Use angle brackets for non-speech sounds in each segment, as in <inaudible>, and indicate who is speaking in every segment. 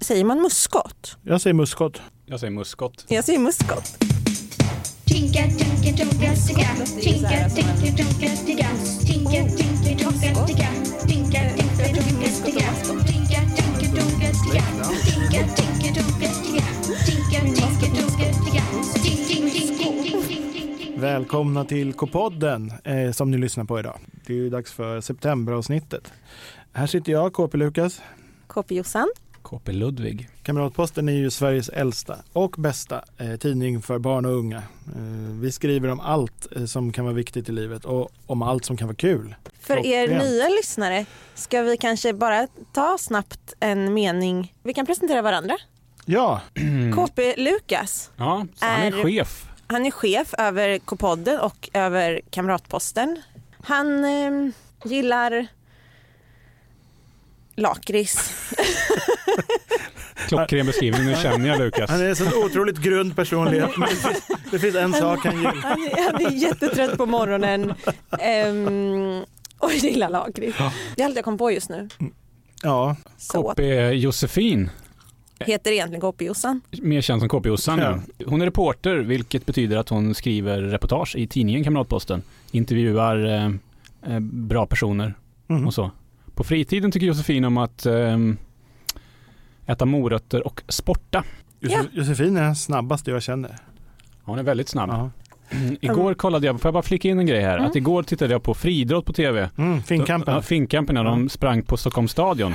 Speaker 1: säger man muskot?
Speaker 2: Jag säger muskot.
Speaker 3: Jag säger muskot.
Speaker 1: Jag säger muskot.
Speaker 4: Tinka, tinka, tonka, sticka. Tinka, tinka, tonka, sticka. Tinka, tinka, tonka, sticka. Tinka, tinka, tonka, sticka. Tinka, tinka, tonka, sticka. Tinka, tinka, tonka, sticka. Tinka, tinka, tonka, sticka. Tink, tink, tink, tink, tink, tink, tink, tink.
Speaker 2: Välkomna till K-podden eh, som ni lyssnar på idag. Det är ju dags för septemberavsnittet. Här sitter jag, KP Lukas.
Speaker 1: KP Jossan.
Speaker 3: KP Ludvig.
Speaker 2: Kamratposten är ju Sveriges äldsta och bästa eh, tidning för barn och unga. Eh, vi skriver om allt eh, som kan vara viktigt i livet och om allt som kan vara kul.
Speaker 1: För er
Speaker 2: Klockrent.
Speaker 1: nya lyssnare ska vi kanske bara ta snabbt en mening. Vi kan presentera varandra.
Speaker 2: Ja,
Speaker 1: KP Lukas,
Speaker 3: Ja, så han är
Speaker 1: Är-
Speaker 3: chef.
Speaker 1: han är chef över K-podden och över Kamratposten. Han eh, gillar lakrits. <laughs>
Speaker 3: Klockren beskrivning, nu känner jag Lukas.
Speaker 2: han är en sån otroligt grund personlighet. Men det, finns, det finns en sak han gillar.
Speaker 1: Han, är- han är jättetrött på morgonen ehm, och gillar lakrits. Det är allt jag kom på just nu.
Speaker 2: Ja,
Speaker 1: Så
Speaker 3: KP Josefin,
Speaker 1: heter egentligen KP-Jossan.
Speaker 3: mer känd som KP Jossan. nu. Hon är reporter, vilket betyder att hon skriver reportage i tidningen Kamratposten. Intervjuar eh, eh, bra personer
Speaker 2: mm.
Speaker 3: och så. På fritiden tycker Josefin om att eh, äta morötter och sporta.
Speaker 1: Ja.
Speaker 2: Josef- Josefin är den snabbaste jag känner.
Speaker 3: Hon är väldigt snabb. Mm,
Speaker 2: Ja.
Speaker 3: Igår kollade jag, får jag bara flika in en grej här?
Speaker 1: Mm.
Speaker 3: Att igår tittade jag på friidrott på tv.
Speaker 2: Mm, Finnkampen.
Speaker 3: Ja, Finnkampen, när de sprang på Stockholms stadion.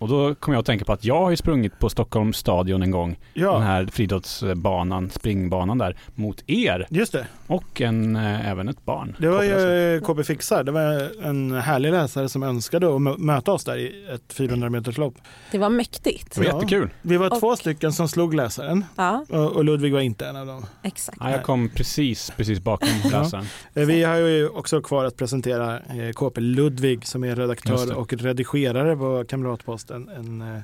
Speaker 3: Och då kom jag att tänka på att jag har ju sprungit på Stockholms stadion en gång. Den
Speaker 2: Ja,
Speaker 3: här friidrottsbanan, springbanan där, mot er
Speaker 2: just det.
Speaker 3: och en, eh, även ett barn.
Speaker 2: Det var ju KB Fixar. Det var en härlig läsare som önskade att mö- möta oss där i ett 400 meters lopp.
Speaker 1: Det var mäktigt.
Speaker 3: Det var
Speaker 2: Ja.
Speaker 3: jättekul.
Speaker 2: Vi var
Speaker 1: Och-
Speaker 2: två stycken som slog läsaren
Speaker 1: Ja,
Speaker 2: och och Ludvig var inte en av dem.
Speaker 1: exakt.
Speaker 3: Ja, jag kom precis, precis bakom läsaren.
Speaker 2: Eh, Vi har ju också kvar att presentera eh, KP Ludvig som är
Speaker 3: Just det.
Speaker 2: redaktör och redigerare på Kamratposten. En, eh,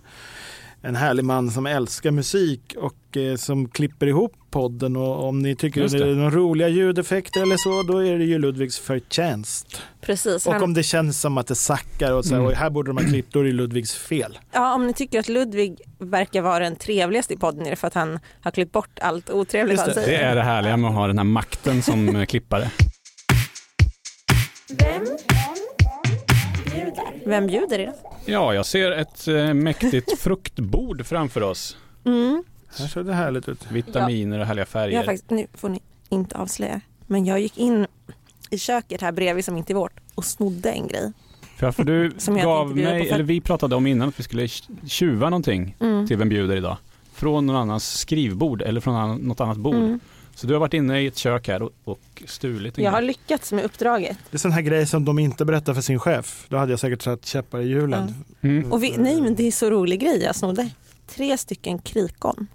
Speaker 2: en härlig man som älskar musik och eh, som klipper ihop podden och om ni tycker
Speaker 3: Just
Speaker 2: det.
Speaker 3: det.
Speaker 2: är några roliga ljudeffekter eller så då är det ju Ludvigs förtjänst.
Speaker 1: Precis.
Speaker 2: Och
Speaker 1: han-
Speaker 2: om det känns som att det sackar och, så här,
Speaker 3: Mm.
Speaker 2: och här borde de ha klippt då är det Ludvigs fel.
Speaker 1: Ja, om ni tycker att Ludvig verkar vara den trevligaste i podden är det för att han har klippt bort allt otrevligt
Speaker 2: Just
Speaker 1: han
Speaker 2: det.
Speaker 1: säger.
Speaker 3: Det är det härliga med att ha den här makten som eh, klippare.
Speaker 1: Vem bjuder idag?
Speaker 3: Ja, jag ser ett eh, mäktigt fruktbord framför oss.
Speaker 1: Mm.
Speaker 2: Här ser det härligt ut.
Speaker 3: Vitaminer och härliga
Speaker 1: Jag har
Speaker 3: färger.
Speaker 1: faktiskt, nu får ni inte avslöja, men jag gick in i köket här bredvid som inte är vårt och snodde en grej.
Speaker 3: För, för du
Speaker 1: Som jag
Speaker 3: gav
Speaker 1: tänkte bjuda på
Speaker 3: mig,
Speaker 1: för-
Speaker 3: eller vi pratade om innan att vi skulle tjuva någonting
Speaker 1: Mm.
Speaker 3: till Vem bjuder idag? Från någon annans skrivbord eller från annan- något annat bord.
Speaker 1: Mm.
Speaker 3: Så du har varit inne i ett kök här och, och stulit en
Speaker 1: Jag har
Speaker 3: grej.
Speaker 1: lyckats med uppdraget.
Speaker 2: Det är sån här grej som de inte berättar för sin chef. Då hade jag säkert satt käppar i hjulen.
Speaker 3: mm.
Speaker 1: Och vi, nej men det är så rolig grej jag snodde. Tre stycken krikon.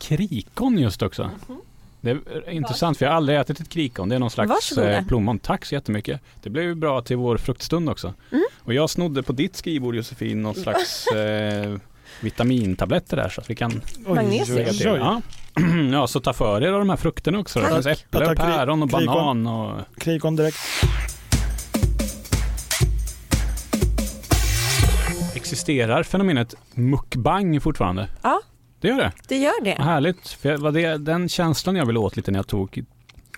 Speaker 3: Krikon just också.
Speaker 1: Mhm.
Speaker 3: Det är intressant för jag har aldrig ätit ett krikon. Det är någon slags
Speaker 1: Varsågoda.
Speaker 3: eh, plommon. Tack så jättemycket. Det blev ju bra till vår fruktstund också.
Speaker 1: Mm.
Speaker 3: Och jag snodde på ditt skrivbord Josefin någon slags eh, vitamintabletter där så att vi kan
Speaker 2: Oj,
Speaker 1: Magnesium.
Speaker 2: oj,
Speaker 3: lägga
Speaker 2: oj.
Speaker 3: till. Ja. <clears throat> ja, så ta för er av de här frukterna också. Det
Speaker 1: Tack.
Speaker 3: finns äpple,
Speaker 2: Jag tar
Speaker 3: och
Speaker 2: kri-
Speaker 3: päron och
Speaker 2: krikon.
Speaker 3: banan och
Speaker 2: Krig kom direkt.
Speaker 3: Existerar fenomenet mukbang fortfarande?
Speaker 1: Ja.
Speaker 3: Det gör det.
Speaker 1: Det gör
Speaker 3: Vad
Speaker 1: det.
Speaker 3: härligt. För jag- vad det, den känslan jag ville åt lite när jag tog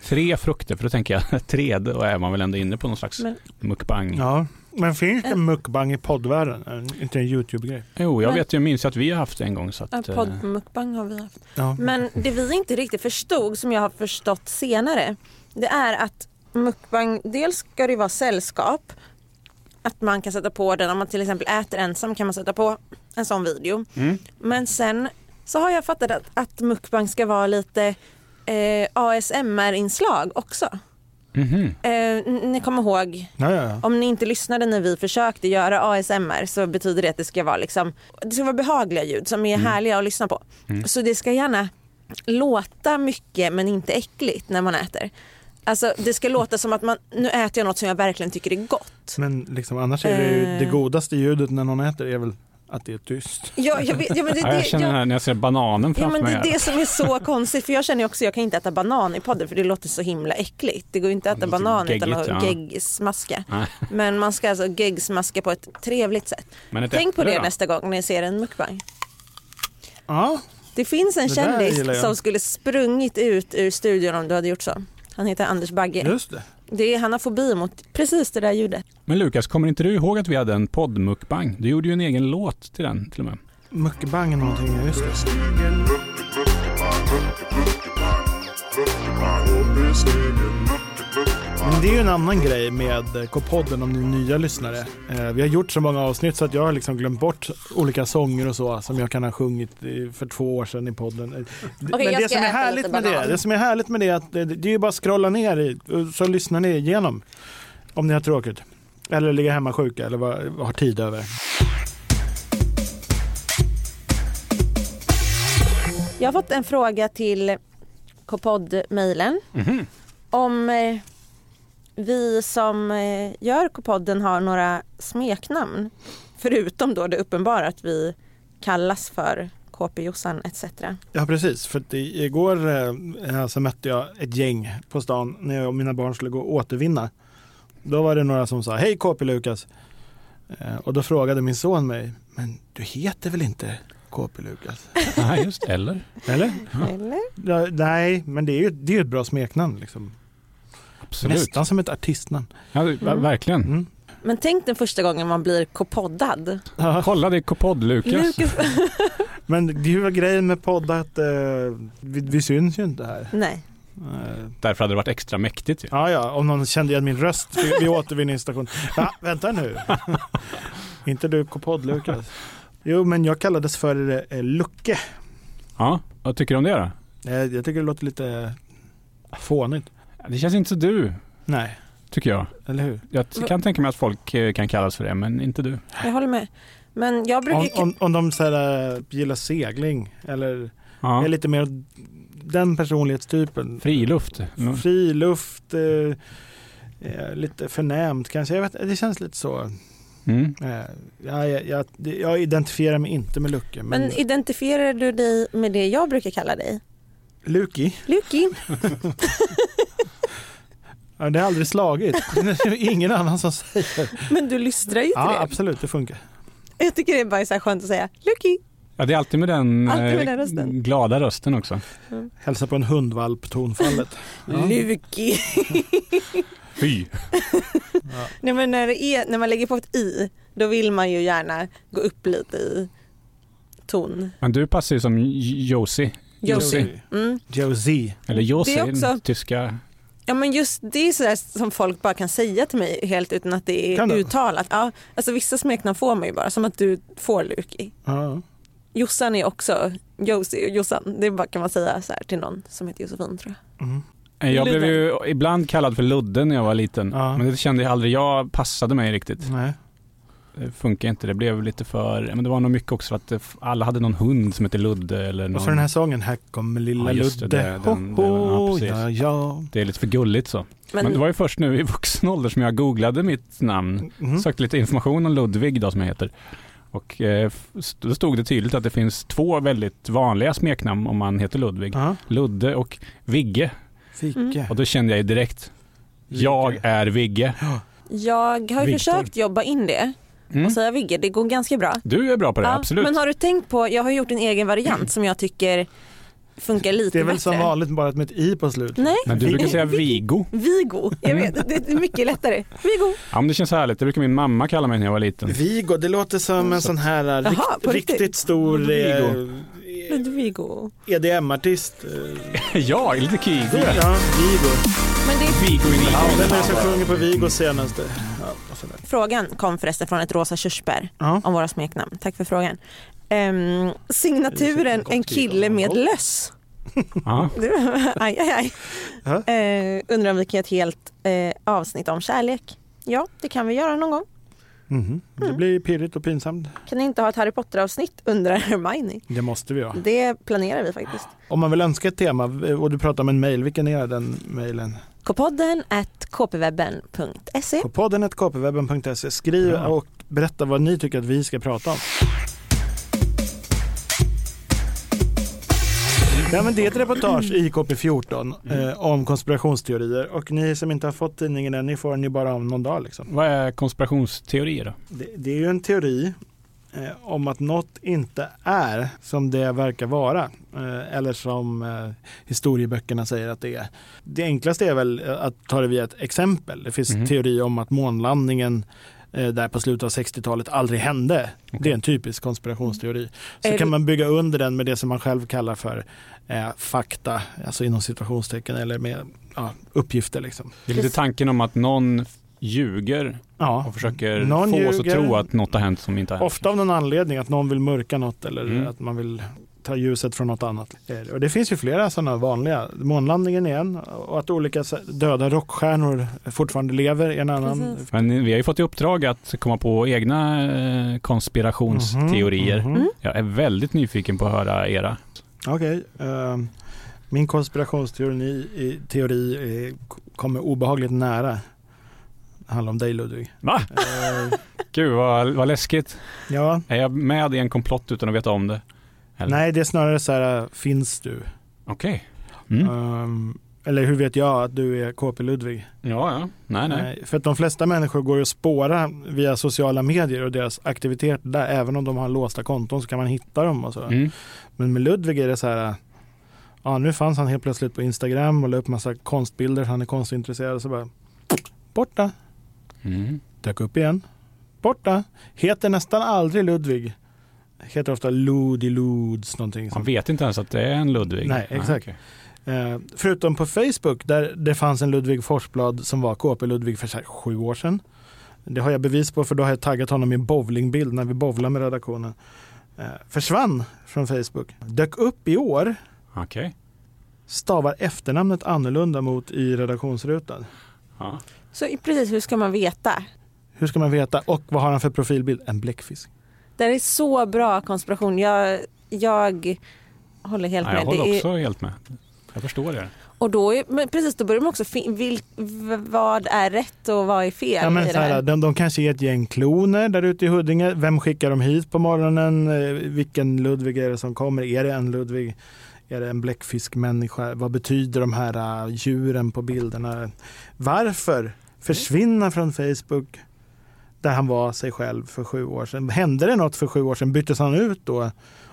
Speaker 3: tre frukter, för då tänker jag <laughs> tre, då är man väl ändå inne på någon slags
Speaker 1: Men-
Speaker 3: mukbang.
Speaker 2: Ja. Men finns det mukbang i poddvärlden? Eh, Inte en YouTube-grej?
Speaker 3: Jo, jag
Speaker 1: Men-
Speaker 3: vet ju, jag minns ju att vi har haft det en gång. Så
Speaker 1: Ja,
Speaker 3: att, eh,
Speaker 1: Podd mukbang har vi haft.
Speaker 2: Ja.
Speaker 1: Men det vi inte riktigt förstod, som jag har förstått senare, det är att mukbang, dels ska det vara sällskap, att man kan sätta på den, om man till exempel äter ensam kan man sätta på en sån video.
Speaker 3: Mm.
Speaker 1: Men sen så har jag fattat att, att mukbang ska vara lite eh, ASMR-inslag också.
Speaker 3: mhm.
Speaker 1: Eh, n- ni kommer ihåg,
Speaker 2: Ja, ja, ja.
Speaker 1: om ni inte lyssnade när vi försökte göra ASMR så betyder det att det ska vara, liksom, det ska vara behagliga ljud som
Speaker 3: Mm.
Speaker 1: är härliga att lyssna på. Så det ska gärna låta mycket men inte äckligt när man äter. Alltså det ska låta som att man, nu äter jag något som jag verkligen tycker är gott.
Speaker 2: Men liksom, annars är det ju
Speaker 1: Eh.
Speaker 2: det godaste ljudet när någon äter är väl att det är tyst.
Speaker 1: Ja, jag, vet, ja, men det,
Speaker 3: ja, jag
Speaker 1: det,
Speaker 3: känner
Speaker 1: jag,
Speaker 3: här när jag ser bananen
Speaker 1: ja,
Speaker 3: framför
Speaker 1: men det
Speaker 3: mig.
Speaker 1: är
Speaker 3: här.
Speaker 1: det som är så konstigt för jag känner ju också jag kan inte äta banan i podden för det låter så himla äckligt. Det går ju inte att
Speaker 3: Det
Speaker 1: äta
Speaker 3: låter
Speaker 1: banan utan
Speaker 3: geggigt,
Speaker 1: att
Speaker 3: ja.
Speaker 1: geggsmaska.
Speaker 3: <laughs> Nej,
Speaker 1: Men man ska alltså geggsmaska på ett trevligt sätt.
Speaker 3: men ett
Speaker 1: Tänk på
Speaker 3: äpple
Speaker 1: det
Speaker 3: då?
Speaker 1: nästa gång ni ser en mukbang.
Speaker 2: Ja,
Speaker 1: Det finns en
Speaker 2: Det där gillar
Speaker 1: kändis
Speaker 2: jag.
Speaker 1: som skulle sprungit ut ur studion om du hade gjort så. Han heter Anders Bagge.
Speaker 2: just det.
Speaker 1: Det är, han har fobi mot precis det där ljudet.
Speaker 3: Men Lukas, kommer inte du ihåg att vi hade en poddmukbang? Du gjorde ju en egen låt till den till och
Speaker 1: <laughs>
Speaker 3: med.
Speaker 2: Mukbang eller någonting, ja, just det. Men det är ju en annan grej med eh, K-podden om ni är nya lyssnare. Eh, Vi har gjort så många avsnitt så att jag har liksom glömt bort olika sånger och så som jag kan ha sjungit i- för två år sedan i podden. Eh, d-
Speaker 1: Okej,
Speaker 2: Men
Speaker 1: jag ska
Speaker 2: det som, är
Speaker 1: äta
Speaker 2: härligt
Speaker 1: lite
Speaker 2: med det,
Speaker 1: banan.
Speaker 2: det som är härligt med det är att det, det är ju bara att scrolla ner i, och så lyssnar ni igenom om ni har tråkigt. Eller ligger hemma sjuka eller vad- vad har tid över.
Speaker 1: Jag har fått en fråga till K-podd-mejlen
Speaker 2: Mhm.
Speaker 1: om eh, vi som eh, gör K-podden har några smeknamn. Förutom då det uppenbara att vi kallas för KP-Jossan etc.
Speaker 2: Ja precis, för att i- igår eh, eh, så mötte jag ett gäng på stan när jag och mina barn skulle gå och återvinna. Då var det några som sa hej KP Lukas. Eh, och då frågade min son mig, men du heter väl inte KP Lukas?
Speaker 3: Ja, just det. Eller?
Speaker 2: Eller?
Speaker 1: Eller?
Speaker 2: Ja, nej, men det är ju det är ju ett bra smeknamn. Liksom.
Speaker 3: Absolut.
Speaker 2: Nästan som ett artistnamn.
Speaker 3: Ja, det- ver- Verkligen.
Speaker 2: Mm.
Speaker 1: Men tänk den första gången man blir K-poddad.
Speaker 2: Ja,
Speaker 3: Kolla, det är K-podd-Lukas.
Speaker 1: Lukas. <laughs>
Speaker 2: men det är ju grejen med podd att eh, vi, vi syns ju inte här.
Speaker 1: Nej.
Speaker 2: Eh,
Speaker 3: Därför hade det varit extra mäktigt ju.
Speaker 2: Ja, ja, om någon kände igen min röst vid- vid återvinningsstationen. Ja, vänta
Speaker 3: <laughs>
Speaker 2: nu. Inte du K-podd Lukas? Jo, men jag kallades för eh, Lucke.
Speaker 3: Ja, vad tycker du om det då?
Speaker 2: Eh, jag tycker det låter lite fånigt.
Speaker 3: Det känns inte så du,
Speaker 2: Nej,
Speaker 3: tycker jag.
Speaker 2: eller hur?
Speaker 3: Jag t- kan tänka mig att folk eh, kan kallas för det, men inte du.
Speaker 1: Jag håller med. Men jag
Speaker 2: Om,
Speaker 1: brukar...
Speaker 2: om, om de så här, eh, gillar segling eller
Speaker 3: Ja.
Speaker 2: är lite mer den personlighetstypen.
Speaker 3: Friluft. Mm.
Speaker 2: Friluft, eh, eh, lite förnämt kanske. Jag vet, det känns lite så.
Speaker 3: Mm.
Speaker 2: Eh, jag, jag, jag, jag identifierar mig inte med Lucke, men,
Speaker 1: Men identifierar du dig med det jag brukar kalla dig?
Speaker 2: Luki.
Speaker 1: Luki?
Speaker 2: Ja, det har
Speaker 1: <laughs>
Speaker 2: aldrig slagit. Det är ingen annan som
Speaker 1: <laughs>
Speaker 2: säger
Speaker 1: Men du lystrar ju till
Speaker 2: Ja,
Speaker 1: det.
Speaker 2: absolut, det funkar.
Speaker 1: Jag tycker det är bara så här skönt att säga Luki.
Speaker 3: Ja, det är alltid med den,
Speaker 1: Alltid med
Speaker 3: eh,
Speaker 1: den rösten.
Speaker 3: glada rösten också.
Speaker 2: Hälsa på en hundvalp, tonfallet. Ja.
Speaker 1: Luki.
Speaker 3: Fy!
Speaker 1: <laughs> Nej, men när, det är, när man lägger på ett i, då vill man ju gärna gå upp lite i ton.
Speaker 3: Men du passar ju som J- Josie.
Speaker 1: <laughs> Josie.
Speaker 2: Josie.
Speaker 1: Mm.
Speaker 2: Josie.
Speaker 3: Eller Josie,
Speaker 1: Det är
Speaker 3: den
Speaker 1: också-
Speaker 3: tyska.
Speaker 1: Ja men just det är sådär som folk bara kan säga till mig helt utan att det
Speaker 2: Kan
Speaker 1: är
Speaker 2: du?
Speaker 1: uttalat. Ja, alltså vissa smeknamn får man ju bara, som att du får Luki.
Speaker 2: Ja.
Speaker 1: Jossan är också Josie och Jossan. Det bara kan man säga så här till någon som heter Josefin tror jag.
Speaker 2: Mm.
Speaker 3: Eh, Jag
Speaker 1: Ludde.
Speaker 3: blev ju ibland kallad för Ludde när jag var liten.
Speaker 2: Ja.
Speaker 3: Men det kände jag aldrig, jag passade mig riktigt.
Speaker 2: Nej.
Speaker 3: Det funkar inte, det blev lite för... Men det var nog mycket också för att det, alla hade någon hund som hette Ludde eller någon...
Speaker 2: Och så den här sången, Här kommer lilla
Speaker 3: Ja, just det,
Speaker 2: Ludde.
Speaker 3: det- den-
Speaker 2: ho,
Speaker 3: den- ja,
Speaker 2: ho,
Speaker 3: precis.
Speaker 2: ja, ja.
Speaker 3: Det är lite för gulligt så. Men,
Speaker 1: Men,
Speaker 3: det var ju först nu i vuxen ålder som jag googlade mitt namn.
Speaker 2: Mhm.
Speaker 1: Mm.
Speaker 3: Sökte lite information om Ludvig då som jag heter. Och eh, f- st- då stod det tydligt att det finns två väldigt vanliga smeknamn om man heter Ludvig.
Speaker 2: Ja,
Speaker 3: Ludde och Vigge.
Speaker 2: Fika.
Speaker 1: Mm.
Speaker 3: Och då kände jag ju direkt, jag är Vigge.
Speaker 1: jag har ju
Speaker 3: Viktor.
Speaker 1: försökt jobba in det
Speaker 3: Mm.
Speaker 1: och säga Vigge, det går ganska bra.
Speaker 3: Du är bra på det,
Speaker 1: Ja,
Speaker 3: absolut.
Speaker 1: Men har du tänkt på, jag har gjort en egen variant som jag tycker funkar lite
Speaker 2: Det är väl
Speaker 1: bättre.
Speaker 2: som vanligt bara med ett i på slut.
Speaker 1: Nej,
Speaker 3: Men du brukar säga Vigo.
Speaker 1: Vigo. Jag vet, det är mycket lättare. Vigo.
Speaker 3: Ja, men det känns härligt. Det brukar min mamma kalla mig när jag
Speaker 2: <laughs>
Speaker 3: var liten.
Speaker 2: Vigo, det låter som en sån här eh, rikt,
Speaker 1: Mm. Jaha, på
Speaker 2: riktigt,
Speaker 1: riktigt?
Speaker 2: stor eh, E
Speaker 1: Ludvigo.
Speaker 3: <laughs>
Speaker 2: EDM-artist. eh,
Speaker 3: ja, lite Kigo.
Speaker 2: Ja, Vigo.
Speaker 1: Men det är
Speaker 3: Vigo in the
Speaker 2: Vem är det
Speaker 3: house.
Speaker 2: som sjunger på Vigo senaste? Ja, vad fan är det?
Speaker 1: Frågan kom förresten från ett rosa körsbär
Speaker 2: Ja.
Speaker 1: om våra smeknamn. Tack för frågan. Ehm, signaturen En kille med löss.
Speaker 3: Ja.
Speaker 1: Du, <laughs> aj, aj, aj.
Speaker 2: Ja.
Speaker 1: Eh, undrar om vi kan göra ett helt eh, avsnitt om kärlek. Ja, det kan vi göra någon gång.
Speaker 2: Mhm. Det blir pirrigt och pinsamt.
Speaker 1: Kan ni inte ha ett Harry Potter-avsnitt undrar Hermione?
Speaker 2: Det måste vi ha.
Speaker 1: Det planerar vi faktiskt.
Speaker 2: Om man vill önska ett tema eh, och du pratar om en mejl, vilken är den mejlen?
Speaker 1: Kpodden at kpwebben.se.
Speaker 2: På podden kpwebben.se. Skriv
Speaker 3: Ja.
Speaker 2: och berätta vad ni tycker att vi ska prata om. Ja, men det är ett reportage i KP14 eh, om konspirationsteorier och ni som inte har fått tidningen än, ni får den ju bara om någon dag. Liksom.
Speaker 3: Vad är konspirationsteorier då?
Speaker 2: Det, det är ju en teori eh, om att något inte är som det verkar vara eh, eller som eh, historieböckerna säger att det är. Det enklaste är väl eh, att ta det via ett exempel. Det finns
Speaker 3: Mhm.
Speaker 2: teori om att månlandningen eh, där på slutet av 60-talet aldrig hände. Det är en typisk konspirationsteori. Så
Speaker 1: Är
Speaker 2: kan
Speaker 1: det-
Speaker 2: man bygga under den med det som man själv kallar för eh, fakta, alltså inom situationstecken eller med ja, uppgifter. Liksom.
Speaker 3: Det är lite tanken om att någon ljuger
Speaker 2: Ja.
Speaker 3: och försöker
Speaker 2: Mm. Någon
Speaker 3: få oss att
Speaker 2: ljuger.
Speaker 3: tro att något har hänt som inte har hänt.
Speaker 2: Ofta av någon anledning, att någon vill mörka något eller
Speaker 3: Mm.
Speaker 2: att man vill ta ljuset från något annat. Eh, Och det finns ju flera sådana vanliga. Månlandningen är en och att olika s- döda rockstjärnor fortfarande lever är en annan.
Speaker 1: Precis.
Speaker 3: Men vi har ju fått i uppdrag att komma på egna eh, konspirationsteorier.
Speaker 2: Mhm, mhm.
Speaker 1: Mm.
Speaker 3: Jag är väldigt nyfiken på att höra era.
Speaker 2: Okej. ehm, min konspirationsteori i, teori eh, k- kommer obehagligt nära. Det handlar om dig Ludvig.
Speaker 3: Va?
Speaker 2: Eh,
Speaker 3: Gud vad, vad läskigt.
Speaker 2: ja,
Speaker 3: Är jag med i en komplott utan att veta om det? Eller?
Speaker 2: nej det är snarare så här, äh, finns du?
Speaker 3: Okej. Mm.
Speaker 2: Ehm, eller hur vet jag att du är KP Ludvig?
Speaker 3: Ja, ja. Nej, nej.
Speaker 2: Nej, Eh, för att de flesta människor går ju att spåra via sociala medier och deras aktivitet där. Även om de har låsta konton så kan man hitta dem och så.
Speaker 3: Mm.
Speaker 2: Men med Ludvig är det så här, ja nu fanns han helt plötsligt på Instagram och la upp massa konstbilder, han är konstintresserad och så bara borta,
Speaker 3: Mm.
Speaker 2: dök upp igen, borta, heter nästan aldrig Ludvig, heter ofta Ludi Luds någonting.
Speaker 3: Han
Speaker 2: Som,
Speaker 3: vet inte ens att det är en Ludvig.
Speaker 2: Nej, exakt.
Speaker 3: okej.
Speaker 2: eh, förutom på Facebook där det fanns en Ludvig Forsblad som var KP Ludvig för så här, sju år sedan. Det har jag bevis på för då har jag taggat honom i en bowlingbild när vi bowlar med redaktionen. Eh, försvann från Facebook, dök upp i år
Speaker 3: Okej.
Speaker 2: stavar efternamnet annorlunda mot i redaktionsrutan.
Speaker 3: Ja.
Speaker 1: Så i- precis, hur ska man veta?
Speaker 2: Hur ska man veta? Och vad har han för profilbild? En bläckfisk.
Speaker 1: Det här är så bra konspiration. Jag, jag håller helt
Speaker 3: Ja,
Speaker 1: med.
Speaker 3: jag håller
Speaker 1: det är,
Speaker 3: också helt med. Jag förstår det.
Speaker 1: Och då, är, men precis, då börjar man också fin- vil, v- vad är rätt och vad är fel
Speaker 2: Ja, men
Speaker 1: i
Speaker 2: så
Speaker 1: det här.
Speaker 2: här, de, de kanske är ett gäng kloner där ute i Huddinge. Vem skickar de hit på morgonen? Eh, Vilken Ludvig är det som kommer? Är det en Ludvig? Är det en bläckfiskmänniska? Vad betyder de här eh, djuren på bilderna? Varför försvinna från Facebook där han var sig själv för sju år sedan? Hände det något för sju år sedan? Byttes han ut då?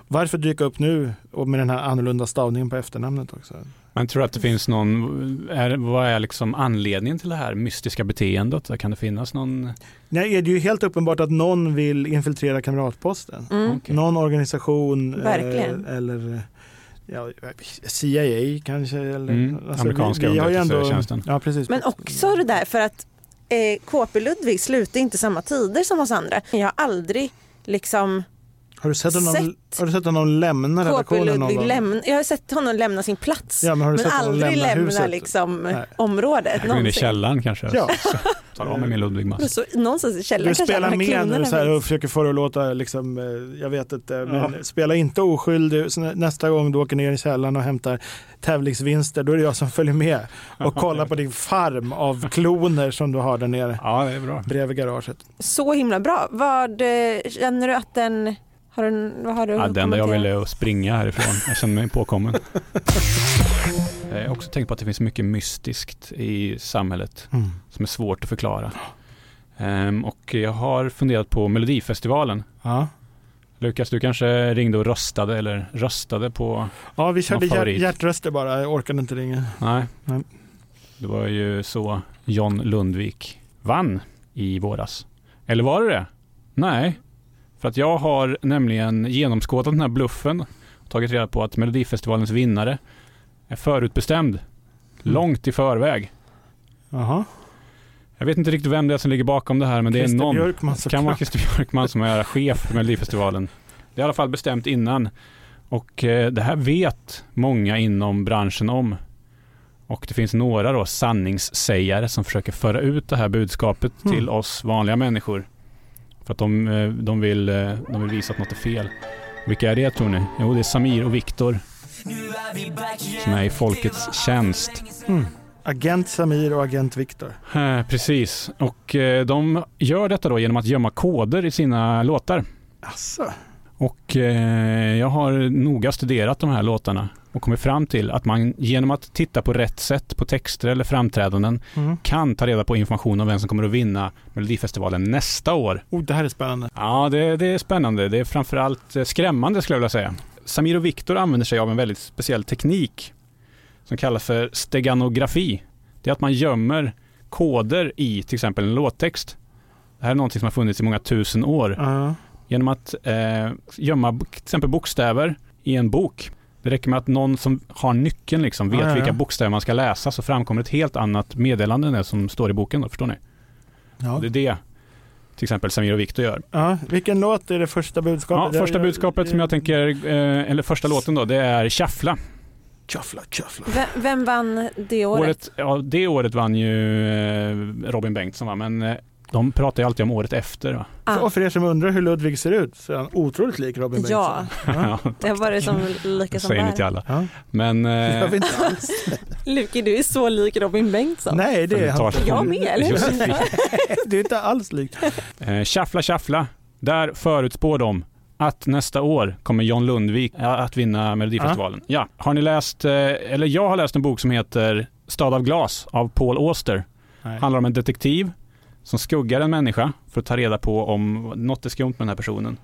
Speaker 2: Varför dyka upp nu och med den här annorlunda stavningen på efternamnet också?
Speaker 3: Men tror du att det finns någon, är, vad är liksom anledningen till det här mystiska beteendet? Kan det finnas någon?
Speaker 2: Nej, det är ju helt uppenbart att någon vill infiltrera kamratposten.
Speaker 1: Mm.
Speaker 3: Okej.
Speaker 2: Någon organisation. eh,
Speaker 1: Verkligen.
Speaker 2: eller ja, CIA kanske. Eller, alltså,
Speaker 3: Mm, amerikanska
Speaker 2: vi, vi har ju ändå,
Speaker 3: underrättelsetjänsten.
Speaker 2: Ja, precis.
Speaker 1: Men också det där för att eh, KP Ludvig slutar inte samma tider som oss andra. Jag har aldrig liksom
Speaker 2: Har du sett honom,
Speaker 1: sett
Speaker 2: har du sett honom lämna
Speaker 1: KP
Speaker 2: redaktionen någon
Speaker 1: Ludvig
Speaker 2: gång?
Speaker 1: lämna, jag har sett honom lämna sin plats.
Speaker 2: Ja, men har du
Speaker 1: Men
Speaker 2: sett honom
Speaker 1: aldrig
Speaker 2: lämna,
Speaker 1: lämna
Speaker 2: huset?
Speaker 1: liksom
Speaker 2: Nej.
Speaker 1: området
Speaker 3: Jag går in i
Speaker 1: någonsin.
Speaker 3: källaren kanske.
Speaker 2: Ja,
Speaker 3: Tar av mig min Ludvig-mask.
Speaker 1: Så, någonstans i källaren
Speaker 2: du
Speaker 1: kanske alla
Speaker 2: spelar
Speaker 1: de här
Speaker 2: med nu
Speaker 1: klonerna
Speaker 2: så här,
Speaker 1: finns.
Speaker 2: och försöker få det att låta, liksom, eh, jag vet inte, men spela inte oskyldig. Så nä- nästa gång du åker ner i källaren och hämtar tävlingsvinster, då är det jag som följer med och kollar på din farm av kloner som du har där nere
Speaker 3: <laughs> Ja, det är bra.
Speaker 2: bredvid garaget.
Speaker 1: Så himla bra. Vad eh, känner du att den... Har du, vad har du
Speaker 3: Ja,
Speaker 1: att
Speaker 3: det enda jag vill
Speaker 1: kommentera?
Speaker 3: är att springa härifrån. Jag känner
Speaker 2: <laughs>
Speaker 3: mig påkommen. Jag har också tänkt på att det finns mycket mystiskt i samhället som är svårt att förklara. Ehm, och jag har funderat på Melodifestivalen.
Speaker 2: Ja.
Speaker 3: Lukas, du kanske ringde och röstade eller röstade på...
Speaker 2: ja, vi körde
Speaker 3: Någon
Speaker 2: hjärt-
Speaker 3: favorit?
Speaker 2: hjärtröster bara, jag orkade inte ringa.
Speaker 3: Nej.
Speaker 2: Nej.
Speaker 3: Det var ju så John Lundvik vann i våras. Eller var det det? Nej. För att jag har nämligen genomskådat den här bluffen och tagit reda på att Melodifestivalens vinnare är förutbestämd.
Speaker 2: Mm.
Speaker 3: Långt i förväg.
Speaker 2: Jaha.
Speaker 3: Jag vet inte riktigt vem det är som ligger bakom det här men det är
Speaker 2: Christer
Speaker 3: någon.
Speaker 2: Björkman
Speaker 3: Det kan vara Christer Björkman som är chef för Melodifestivalen. Det är i alla fall bestämt innan. Och eh, det här vet många inom branschen om. Och det finns några då sanningssägare som försöker föra ut det här budskapet
Speaker 2: Mm.
Speaker 3: till oss vanliga människor. För att de, eh, de, vill, eh, de vill visa att något är fel. Vilka är det tror ni? Jo, det är Samir och Viktor som är i folkets tjänst.
Speaker 2: Mm. Agent Samir och agent Viktor.
Speaker 3: Eh, Precis, och eh, de gör detta då genom att gömma koder i sina låtar.
Speaker 2: Asså.
Speaker 3: Och eh, jag har noga studerat de här låtarna och kommit fram till att man genom att titta på rätt sätt på texter eller framträdanden
Speaker 2: Mm.
Speaker 3: kan ta reda på information om vem som kommer att vinna Melodifestivalen nästa år.
Speaker 2: Oh, det här är spännande.
Speaker 3: Ja, det, det är spännande. Det är framförallt eh, skrämmande skulle jag vilja säga. Samir och Viktor använder sig av en väldigt speciell teknik som kallas för steganografi. Det är att man gömmer koder i till exempel en låttext. Det här är någonting som har funnits i många tusen år
Speaker 2: Ja.
Speaker 3: genom att eh, gömma bo- till exempel bokstäver i en bok. Det räcker med att någon som har nyckeln liksom vet
Speaker 2: Ja, ja, ja.
Speaker 3: vilka bokstäver man ska läsa så framkommer ett helt annat meddelande än det som står i boken. Då, förstår ni?
Speaker 2: Ja.
Speaker 3: Det är det till exempel Samir och Viktor gör.
Speaker 2: Ja. Vilken låt är det första budskapet?
Speaker 3: Ja, första budskapet som jag tänker, eh, eller första låten då, det är Tjaffla.
Speaker 2: Tjaffla, tjaffla.
Speaker 1: Vem, vem vann det året?
Speaker 3: Året, ja, det året vann ju eh, Robin Bengtsson va, men eh, de pratar ju alltid om året efter. Va?
Speaker 1: Ah,
Speaker 2: Och för er som undrar hur Ludvig ser ut så är han otroligt lik Robin Bengtsson.
Speaker 1: ja,
Speaker 3: <laughs>
Speaker 2: Ja.
Speaker 1: det var det som
Speaker 3: det
Speaker 1: lika som
Speaker 3: säger ni till
Speaker 1: bär.
Speaker 3: alla.
Speaker 2: Ja.
Speaker 3: Men
Speaker 2: Det gör
Speaker 3: eh,
Speaker 2: vi inte
Speaker 1: Alltså.
Speaker 2: alls.
Speaker 1: Luki, du är så lik Robin Bengtsson.
Speaker 2: Nej, det är han inte.
Speaker 1: Jag med, eller hur?
Speaker 2: <laughs>
Speaker 3: Josefin.
Speaker 2: Du är inte alls lik.
Speaker 3: Eh, Tjaffla tjaffla, där förutspår de att nästa år kommer John Lundvik eh, att vinna Melodifestivalen. Ja, har ni läst, eh, eller jag har läst en bok som heter Stad av glas av Paul Auster.
Speaker 2: Nej.
Speaker 3: Handlar om en detektiv som skuggar en människa för att ta reda på om något är skumt med den här personen.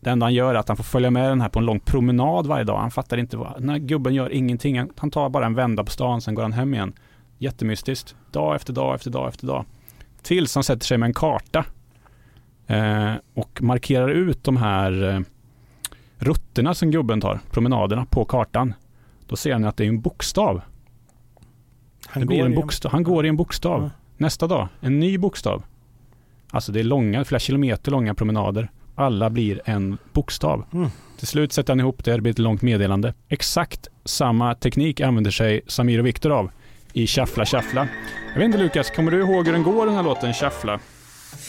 Speaker 3: Det enda han gör är att han får följa med den här på en lång promenad varje dag. Han fattar inte vad, den här gubben gör ingenting. Han- Han tar bara en vända på stan, sen går han hem igen. Jättemystiskt. Dag efter dag efter dag efter dag. Tills han sätter sig med en karta eh, och markerar ut de här eh, rutterna som gubben tar, promenaderna, på kartan. Då ser han att det är en bokstav.
Speaker 2: Han
Speaker 3: det blir en
Speaker 2: igen.
Speaker 3: bokstav. Han går i en bokstav.
Speaker 2: Ja.
Speaker 3: Nästa dag, en ny bokstav. Alltså det är långa, flera kilometer långa promenader. Alla blir en bokstav.
Speaker 2: Mm.
Speaker 3: Till slut sätter han ihop det, det blir ett långt meddelande. Exakt samma teknik använder sig Samir och Viktor av i Tjaffla Tjaffla. Jag vet inte Lukas, kommer du ihåg hur den går den här låten Tjaffla?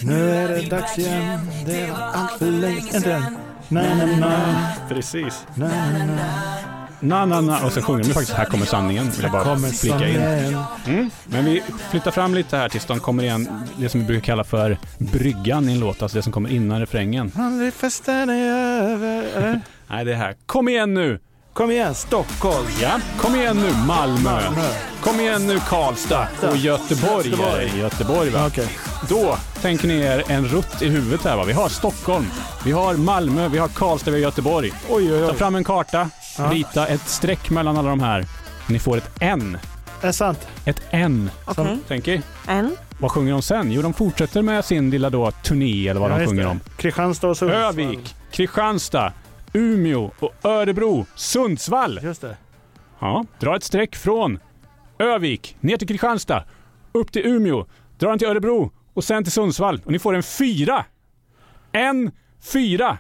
Speaker 2: Nu är det dags igen, det var allt för länge sedan. Na, na, na,
Speaker 3: Precis.
Speaker 2: na, na, na.
Speaker 3: Na, na, na. Och så sjunger de faktiskt Här kommer sanningen, vill jag bara
Speaker 2: Kommer
Speaker 3: flika in.
Speaker 2: sommaren.
Speaker 3: Mm. Men vi flyttar fram lite här tills de kommer igen, det som vi brukar kalla för bryggan i en låt, alltså det som kommer innan refrängen.
Speaker 2: Aldrig festen är över. Eller?
Speaker 3: Nej, det är här. Kom igen nu!
Speaker 2: Kom igen, Stockholm.
Speaker 3: Ja, kom igen nu Malmö! Kom igen nu Karlstad och Göteborg.
Speaker 2: Göteborg.
Speaker 3: Göteborg va?
Speaker 2: Okej.
Speaker 3: Då tänker ni er en rutt i huvudet här va? Vi har Stockholm, vi har Malmö, vi har Karlstad, vi har Göteborg.
Speaker 2: Oj, oj,
Speaker 3: Ta
Speaker 2: oj.
Speaker 3: fram en karta,
Speaker 2: Ja.
Speaker 3: rita ett streck mellan alla de här. Ni får ett N.
Speaker 2: Är sant.
Speaker 3: Ett N.
Speaker 1: Okej,
Speaker 3: Tänk er.
Speaker 1: en.
Speaker 3: Vad sjunger de sen? Jo, de fortsätter med sin lilla då turné eller vad
Speaker 2: Ja,
Speaker 3: de
Speaker 2: just
Speaker 3: sjunger
Speaker 2: det.
Speaker 3: om.
Speaker 2: Kristianstad och Sundsvall.
Speaker 3: Övik, Kristianstad, Umeå och Örebro, Sundsvall.
Speaker 2: Just det.
Speaker 3: Ja, dra ett streck från Övik, ner till Kristianstad, upp till Umeå, dra den till Örebro och sen till Sundsvall. Och ni får en fyra! En fyra!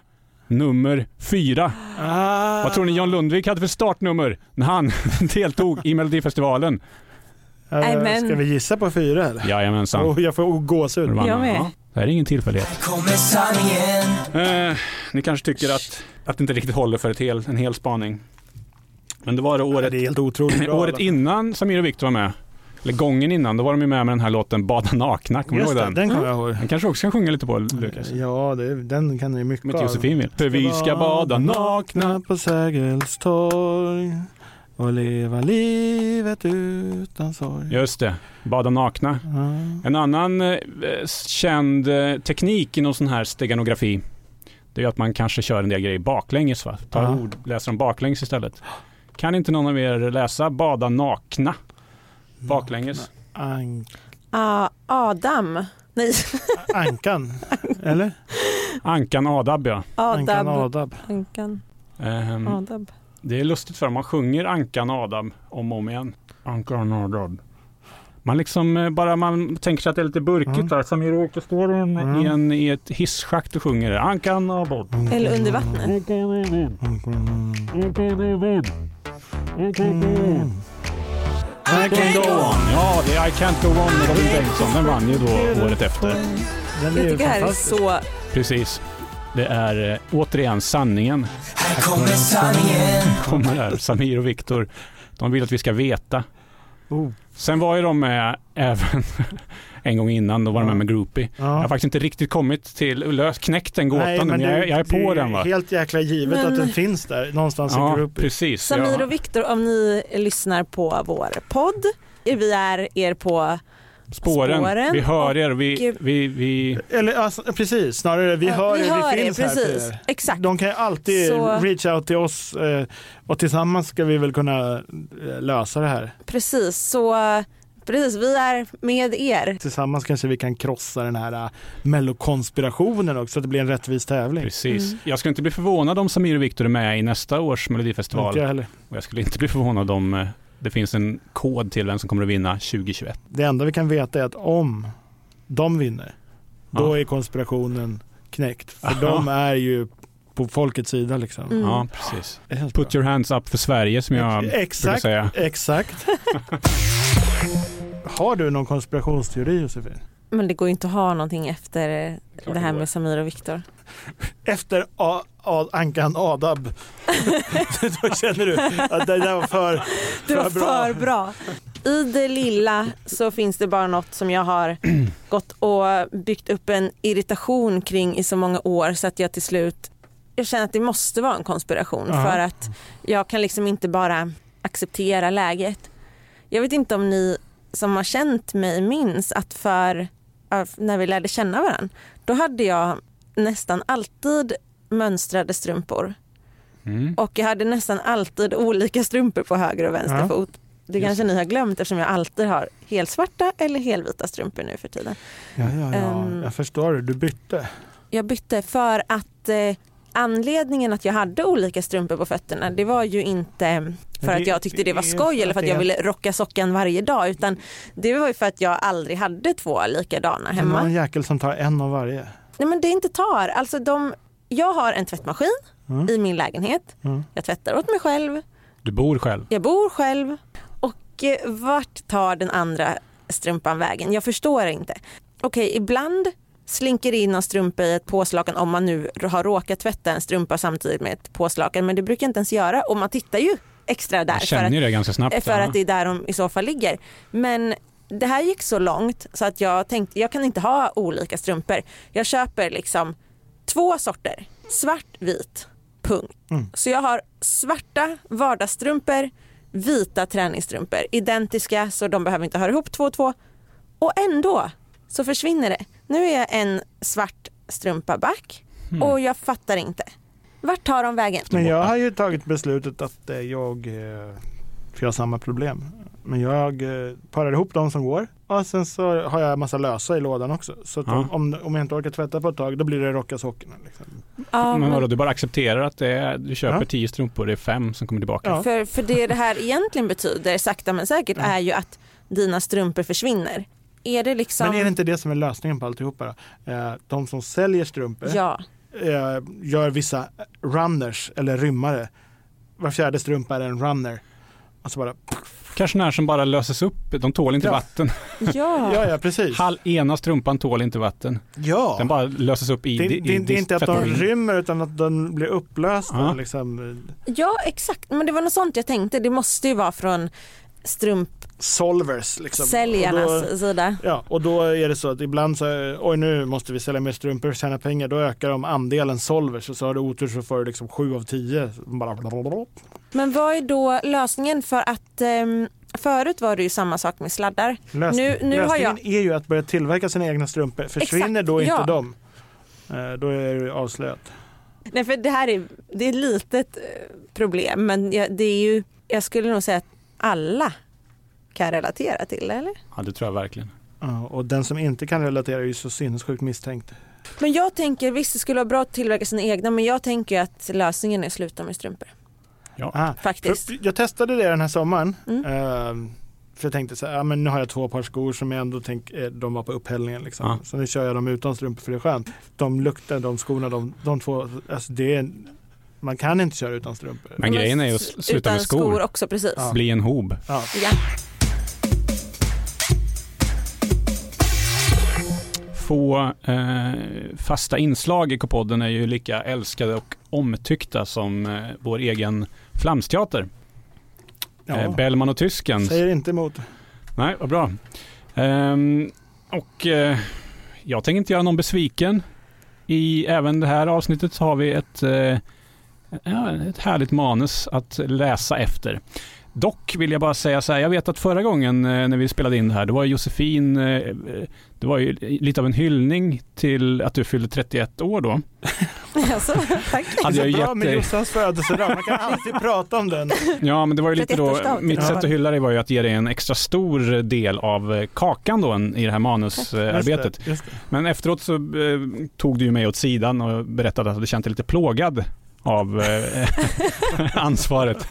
Speaker 3: Nummer fyra.
Speaker 2: Ah,
Speaker 3: Vad tror ni John Lundvik hade för startnummer när han <laughs> deltog i Melodifestivalen?
Speaker 2: eh,
Speaker 1: Nej, men-
Speaker 2: Ska vi gissa på fyra eller?
Speaker 3: Jajamensan.
Speaker 2: Oh, jag får gåshud.
Speaker 3: Vann han.
Speaker 1: med.
Speaker 3: Ja, Det här är ingen tillfällighet.
Speaker 5: Kommer sanningen
Speaker 3: Eh, ni kanske tycker att, att det inte riktigt håller för ett hel, en hel spaning. Men det var det året
Speaker 2: Det är helt otroligt bra.
Speaker 3: <clears throat> Året innan Samir och Viktor var med, eller gången innan, då var de ju med med den här låten Bada nakna, kommer du
Speaker 2: Just
Speaker 3: ihåg
Speaker 2: det,
Speaker 3: den? den?
Speaker 2: den kommer jag ihåg.
Speaker 3: kanske också kan sjunga lite på Lukas?
Speaker 2: Ja, det, den kan ni mycket
Speaker 3: Om inte
Speaker 2: av.
Speaker 3: Josefin vill. För vi ska bada nakna.
Speaker 2: Vakna på Sergels torg och leva livet utan sorg.
Speaker 3: Just det, Bada nakna.
Speaker 2: Ja.
Speaker 3: En annan eh, känd eh, teknik inom sån här steganografi, det är ju att man kanske kör en del grejer baklänges va? Tar
Speaker 2: Ja.
Speaker 3: ord, läser dem baklänges istället. Kan inte någon av er läsa Bada nakna? Baklänges.
Speaker 2: An-
Speaker 1: Ah, Adam. Nej, <laughs>
Speaker 2: ankan, eller?
Speaker 3: Ankan Adab ja.
Speaker 2: Ankan
Speaker 1: Adab.
Speaker 2: Adab.
Speaker 1: Ankan
Speaker 3: Ehm,
Speaker 1: Adab.
Speaker 3: Det är lustigt för man sjunger Ankan Adam om och om igen. Ankan Adam. Man liksom eh, bara man tänker sig att det är lite burkigt
Speaker 2: Mm.
Speaker 3: där. Samir åkte står en,
Speaker 2: Mm.
Speaker 3: i, en, i ett hisschakt och sjunger det. Ankan Adam.
Speaker 1: Eller under vattnet.
Speaker 3: I can't go on. Ja, det är I can't go on med Robin Bengtsson. Den vann ju då året efter.
Speaker 2: Den
Speaker 1: Jag
Speaker 2: är ju
Speaker 1: tycker det här är
Speaker 2: fantastisk.
Speaker 1: så...
Speaker 3: Precis. Det är eh, återigen sanningen.
Speaker 5: Här kommer sanningen
Speaker 3: Kommer här. Samir och Viktor. De vill att vi ska veta.
Speaker 2: Oh.
Speaker 3: Sen var ju de med även <laughs> en gång innan, då var de med med Groupie. Jag har
Speaker 2: Ja.
Speaker 3: faktiskt inte riktigt kommit till, löst, knäckt den gåtan,
Speaker 2: Nej,
Speaker 3: men,
Speaker 2: men det-
Speaker 3: jag, jag är
Speaker 2: det
Speaker 3: på den va.
Speaker 2: Helt alltså jäkla givet
Speaker 1: Men-
Speaker 2: att den finns där någonstans i
Speaker 3: Ja,
Speaker 2: gruppen.
Speaker 3: precis.
Speaker 1: Samir
Speaker 3: Ja.
Speaker 1: och Viktor, om ni lyssnar på vår podd, vi är er på
Speaker 3: Spåren.
Speaker 1: spåren
Speaker 3: vi hör er, vi,
Speaker 1: och-
Speaker 3: vi, vi,
Speaker 2: Eller ja, s- precis, snarare vi
Speaker 1: Ja,
Speaker 2: hör
Speaker 1: vi
Speaker 2: er,
Speaker 1: hör
Speaker 2: vi
Speaker 1: er,
Speaker 2: finns här
Speaker 1: precis.
Speaker 2: för er.
Speaker 1: Exakt.
Speaker 2: De kan ju alltid
Speaker 1: Så-
Speaker 2: reach out till oss eh, och tillsammans ska vi väl kunna eh, lösa det här.
Speaker 1: Precis, så precis, vi är med er.
Speaker 2: Tillsammans kanske vi kan krossa den här eh, mellokonspirationen också så att det blir en rättvis tävling.
Speaker 3: precis.
Speaker 1: Mm.
Speaker 3: Jag skulle inte bli förvånad om Samir och Viktor är med i nästa års Melodifestival.
Speaker 2: Inte jag heller.
Speaker 3: Och jag skulle inte bli förvånad om eh, det finns en kod till vem som kommer att vinna 2021.
Speaker 2: Det enda vi kan veta är att om de vinner, då
Speaker 3: Ja.
Speaker 2: är konspirationen knäckt. För
Speaker 3: Aha.
Speaker 2: de är ju på folkets sida liksom.
Speaker 1: Mm.
Speaker 3: Ja, precis.
Speaker 2: Det är helt
Speaker 3: Put
Speaker 2: bra.
Speaker 3: your hands up för Sverige som jag brukar
Speaker 2: Exakt,
Speaker 3: säga.
Speaker 2: exakt.
Speaker 3: <laughs>
Speaker 2: Har du någon konspirationsteori Josefin?
Speaker 1: Men det går ju inte att ha någonting efter
Speaker 3: klart
Speaker 1: det
Speaker 3: det
Speaker 1: här
Speaker 3: går.
Speaker 1: med Samir och Viktor.
Speaker 2: Efter A- A- Ankan
Speaker 1: <laughs>
Speaker 2: Adab, <laughs> då känner du att det där var
Speaker 1: <laughs>
Speaker 2: för...
Speaker 1: Det var
Speaker 2: För bra.
Speaker 1: för bra. I det lilla så finns det bara något som jag
Speaker 2: <clears throat>
Speaker 1: har gått och byggt upp en irritation kring i så många år så att jag till slut, jag känner att det måste vara en konspiration
Speaker 2: Ja.
Speaker 1: för att jag kan liksom inte bara acceptera läget. Jag vet inte om ni som har känt mig minns att för ja, när vi lärde känna varandra, då hade jag nästan alltid mönstrade strumpor
Speaker 3: Mm.
Speaker 1: och jag hade nästan alltid olika strumpor på höger och vänster
Speaker 2: Ja.
Speaker 1: fot. Det
Speaker 3: Just
Speaker 1: kanske ni har glömt eftersom jag alltid har helsvarta eller helvita strumpor nu för tiden.
Speaker 2: Ja, ja, ja.
Speaker 1: Ehm.
Speaker 2: Jag förstår det. Du bytte.
Speaker 1: Jag bytte för att eh, anledningen att jag hade olika strumpor på fötterna det var ju inte eh, för
Speaker 2: Men det-
Speaker 1: att jag tyckte det var
Speaker 2: det är
Speaker 1: skoj
Speaker 2: för
Speaker 1: eller för
Speaker 2: att
Speaker 1: att jag
Speaker 2: det-
Speaker 1: ville rocka sockan varje dag utan det var ju för att jag aldrig hade två likadana
Speaker 2: Det är
Speaker 1: hemma.
Speaker 2: någon jäkel som tar en av varje.
Speaker 1: Nej men det är inte tar. Alltså de, jag har en tvättmaskin
Speaker 2: Mm.
Speaker 1: i min lägenhet.
Speaker 2: Mm.
Speaker 1: Jag tvättar åt mig själv.
Speaker 3: Du bor själv.
Speaker 1: Jag bor själv och eh, vart tar den andra strumpan vägen? Jag förstår inte. Okej, ibland slinker det in någon strumpa i ett påslakan om man nu har råkat tvätta en strumpa samtidigt med ett påslakan men det brukar jag inte ens göra och man tittar ju extra där
Speaker 3: Jag
Speaker 1: för
Speaker 3: känner
Speaker 1: att,
Speaker 3: ju det ganska snabbt.
Speaker 1: för
Speaker 3: ja.
Speaker 1: att det är där de i så fall ligger. Men det här gick så långt så att jag tänkte jag kan inte ha olika strumpor. Jag köper liksom två sorter, svart, vit, punkt.
Speaker 2: Mm.
Speaker 1: Så jag har svarta vardagsstrumpor, vita träningsstrumpor, identiska så de behöver inte höra ihop två och två. Och ändå så försvinner det. Nu är jag en svart strumpa back
Speaker 3: Mm.
Speaker 1: och jag fattar inte. Vart tar de vägen?
Speaker 2: Men jag har ju tagit beslutet att eh, jag, eh, för jag har samma problem, men jag eh, parar ihop de som går och sen så har jag massa lösa i lådan också. Så att
Speaker 3: Ja.
Speaker 2: om- om, om jag inte orkar tvätta på ett tag då blir det rocka sockorna. Liksom.
Speaker 1: Ja,
Speaker 3: Men
Speaker 1: men-
Speaker 3: vadå, du bara accepterar att det är, du köper
Speaker 2: Ja.
Speaker 3: tio strumpor, det är fem som kommer tillbaka.
Speaker 2: Ja.
Speaker 1: För, för det det här egentligen betyder, sakta men säkert,
Speaker 2: Ja.
Speaker 1: är ju att dina strumpor försvinner. Är det liksom...
Speaker 2: Men är det inte det som är lösningen på alltihopa då? Eh, De som säljer strumpor
Speaker 1: Ja,
Speaker 2: eh, gör vissa runners eller rymmare. Var fjärde strumpa är en runner. Alltså bara,
Speaker 3: Kanske när som bara löses upp, de tål inte
Speaker 2: Ja.
Speaker 3: vatten.
Speaker 1: ja.
Speaker 2: <laughs> ja ja precis.
Speaker 3: Hal, ena strumpan tål inte vatten.
Speaker 2: Ja.
Speaker 3: Den bara löses upp i
Speaker 2: Det, det,
Speaker 3: i
Speaker 2: det är inte att de
Speaker 3: diskmaskinen.
Speaker 2: rymmer utan att de blir upplösta.
Speaker 3: Ja.
Speaker 2: Liksom.
Speaker 1: ja, exakt. Men det var något sånt jag tänkte. Det måste ju vara från
Speaker 2: solvers. Liksom. Och
Speaker 1: strumpsäljarnas
Speaker 2: då,
Speaker 1: sida.
Speaker 2: ja, och då är det så att ibland så, oj nu måste vi sälja mer strumpor och tjäna pengar, då ökar de andelen solvers och så har du otur så får du liksom 7 av 10. Bara blablabla.
Speaker 1: Men vad är då lösningen för att ehm, förut var det ju samma sak med sladdar.
Speaker 2: Lös-
Speaker 1: Nu- nu har
Speaker 2: lösningen är ju att börja tillverka sina egna strumpor. Försvinner
Speaker 1: Exakt,
Speaker 2: då inte
Speaker 1: ja.
Speaker 2: de, eh, då är det avslöjat.
Speaker 1: Nej för det här är, det är ett litet eh, problem men jag, det är ju, jag skulle nog säga att alla kan relatera till det eller?
Speaker 3: Ja, det tror jag verkligen.
Speaker 2: Ja, och den som inte kan relatera är ju så sinnessjukt misstänkt.
Speaker 1: Men jag tänker, visst det skulle vara bra att tillverka sina egna men jag tänker ju att lösningen är att sluta med strumpor.
Speaker 2: Ah,
Speaker 1: Faktiskt.
Speaker 2: För Jag testade det den här sommaren.
Speaker 1: Mm.
Speaker 2: Eh, för jag tänkte så här, ja, men nu har jag två par skor som jag ändå tänkte, de var på upphällningen liksom.
Speaker 3: Ja.
Speaker 2: Så nu kör jag dem utan strumpor för det är skönt. De luktar, de skorna, de, de två, alltså det är, man kan inte köra utan strumpor.
Speaker 3: Men grejen är ju att
Speaker 1: s-
Speaker 3: sluta
Speaker 1: utan
Speaker 3: med skor.
Speaker 1: också precis.
Speaker 2: Ja.
Speaker 3: Bli en hob.
Speaker 2: Ja.
Speaker 1: Ja.
Speaker 3: Få eh, fasta inslag i K-podden är ju lika älskade och omtyckta som eh, vår egen Flamsteater.
Speaker 2: Ja.
Speaker 3: Eh, Bellman och tysken.
Speaker 2: Säger inte emot.
Speaker 3: Nej, vad bra. Ehm, och eh, jag tänker inte göra någon besviken. I även det här avsnittet så har vi ett, eh, ja, ett härligt manus att läsa efter. Dock vill jag bara säga så här, jag vet att förra gången eh, när vi spelade in det här, då var Josefin, eh, eh, det var ju lite av en hyllning till att du fyllde 31 år då.
Speaker 1: <laughs> Alltså, tack.
Speaker 3: Hade
Speaker 2: det är så bra
Speaker 3: jag ju gett
Speaker 2: med
Speaker 3: dig- Äh,
Speaker 2: Jossans födelsedag, man kan
Speaker 3: <laughs>
Speaker 2: alltid prata om den.
Speaker 3: Ja, men det var ju lite då,
Speaker 1: 31-årsdag.
Speaker 3: mitt
Speaker 2: Ja.
Speaker 3: sätt att hylla dig var ju att ge dig en extra stor del av eh, kakan då en, i det här manusarbetet.
Speaker 2: Just det, just det.
Speaker 3: Men efteråt så eh, tog du ju mig åt sidan och berättade att du känt dig lite plågad av eh, <laughs> ansvaret.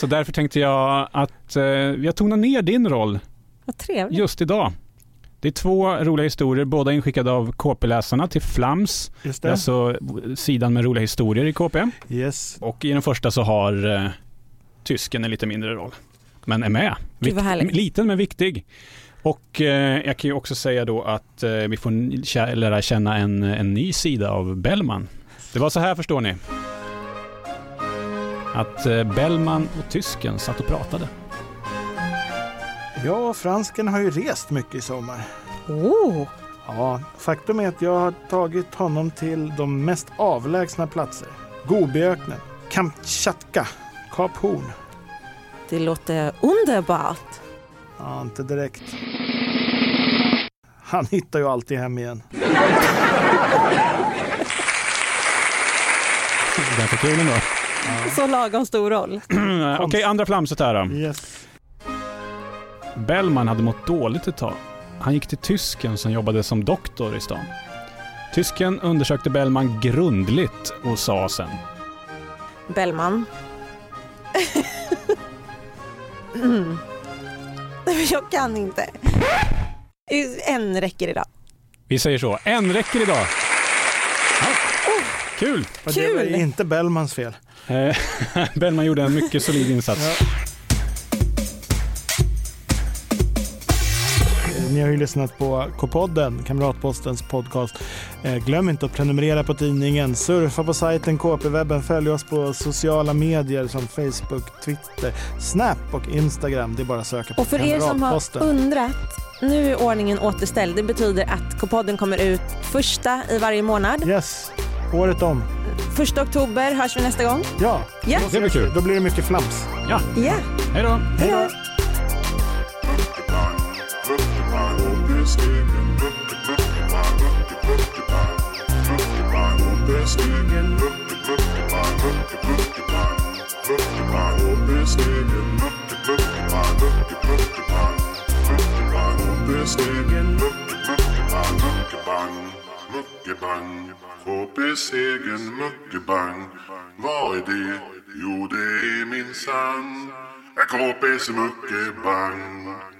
Speaker 3: Så därför tänkte jag att eh, jag tonar ner din roll
Speaker 1: Vad trevligt.
Speaker 3: just idag. Det är två roliga historier, båda inskickade av KP-läsarna till Flams,
Speaker 2: Just
Speaker 3: det är
Speaker 2: det.
Speaker 3: alltså sidan med roliga historier i KP.
Speaker 2: Yes.
Speaker 3: Och i den första så har eh, tysken en lite mindre roll, men är med.
Speaker 1: Gud, vad härligt.
Speaker 3: liten men viktig. Och eh, jag kan ju också säga då att eh, vi får n- kä- lära känna en, en ny sida av Bellman. Det var så här förstår ni. Att eh, Bellman och tysken satt och pratade.
Speaker 2: Jag och fransken har ju rest mycket i sommar.
Speaker 1: Oh,
Speaker 2: Ja, faktum är att jag har tagit honom till de mest avlägsna platser. Gobiöknen, Kamchatka, Kap Horn.
Speaker 1: det låter underbart.
Speaker 2: Ja, inte direkt. Han hittar ju alltid hem igen.
Speaker 3: Den fick kul ändå. <clears throat>
Speaker 1: Så lagom stor roll.
Speaker 3: Okej, andra flamset här då.
Speaker 2: Yes.
Speaker 3: Bellman hade mått dåligt ett tag. Han gick till tysken som jobbade som doktor i stan. Tysken undersökte Bellman grundligt och sa sen
Speaker 1: <laughs> Bellman. mm. <laughs> Nej, Jag kan inte. En räcker idag.
Speaker 3: Vi säger så. En räcker idag. Ja. Kul!
Speaker 2: Och det var
Speaker 1: Kul!
Speaker 2: inte Bellmans fel.
Speaker 3: Eh, <laughs> Bellman gjorde en mycket solid insats.
Speaker 2: Eh, Ni har ju lyssnat på K-podden, Kamratpostens podcast. Eh, Glöm inte att prenumerera på tidningen, surfa på sajten KP-webben, följ oss på sociala medier som Facebook, Twitter, Snap och Instagram. Det är bara att söka på
Speaker 1: Och för er som har
Speaker 2: Kamratposten.
Speaker 1: undrat, nu är ordningen återställd. Det betyder att K-podden kommer ut första i varje månad.
Speaker 2: Yes, året om.
Speaker 1: Första oktober hörs vi nästa gång.
Speaker 2: Ja,
Speaker 1: Ja.
Speaker 2: Då ses
Speaker 3: Det blir
Speaker 2: vi.
Speaker 3: kul.
Speaker 2: Då blir det mycket flams.
Speaker 3: Ja,
Speaker 1: Ja,
Speaker 3: hej då!
Speaker 1: hej då!
Speaker 5: Muckebang, muckebang, vad är det? Jo, det är min sann. Jag KP's muckebang.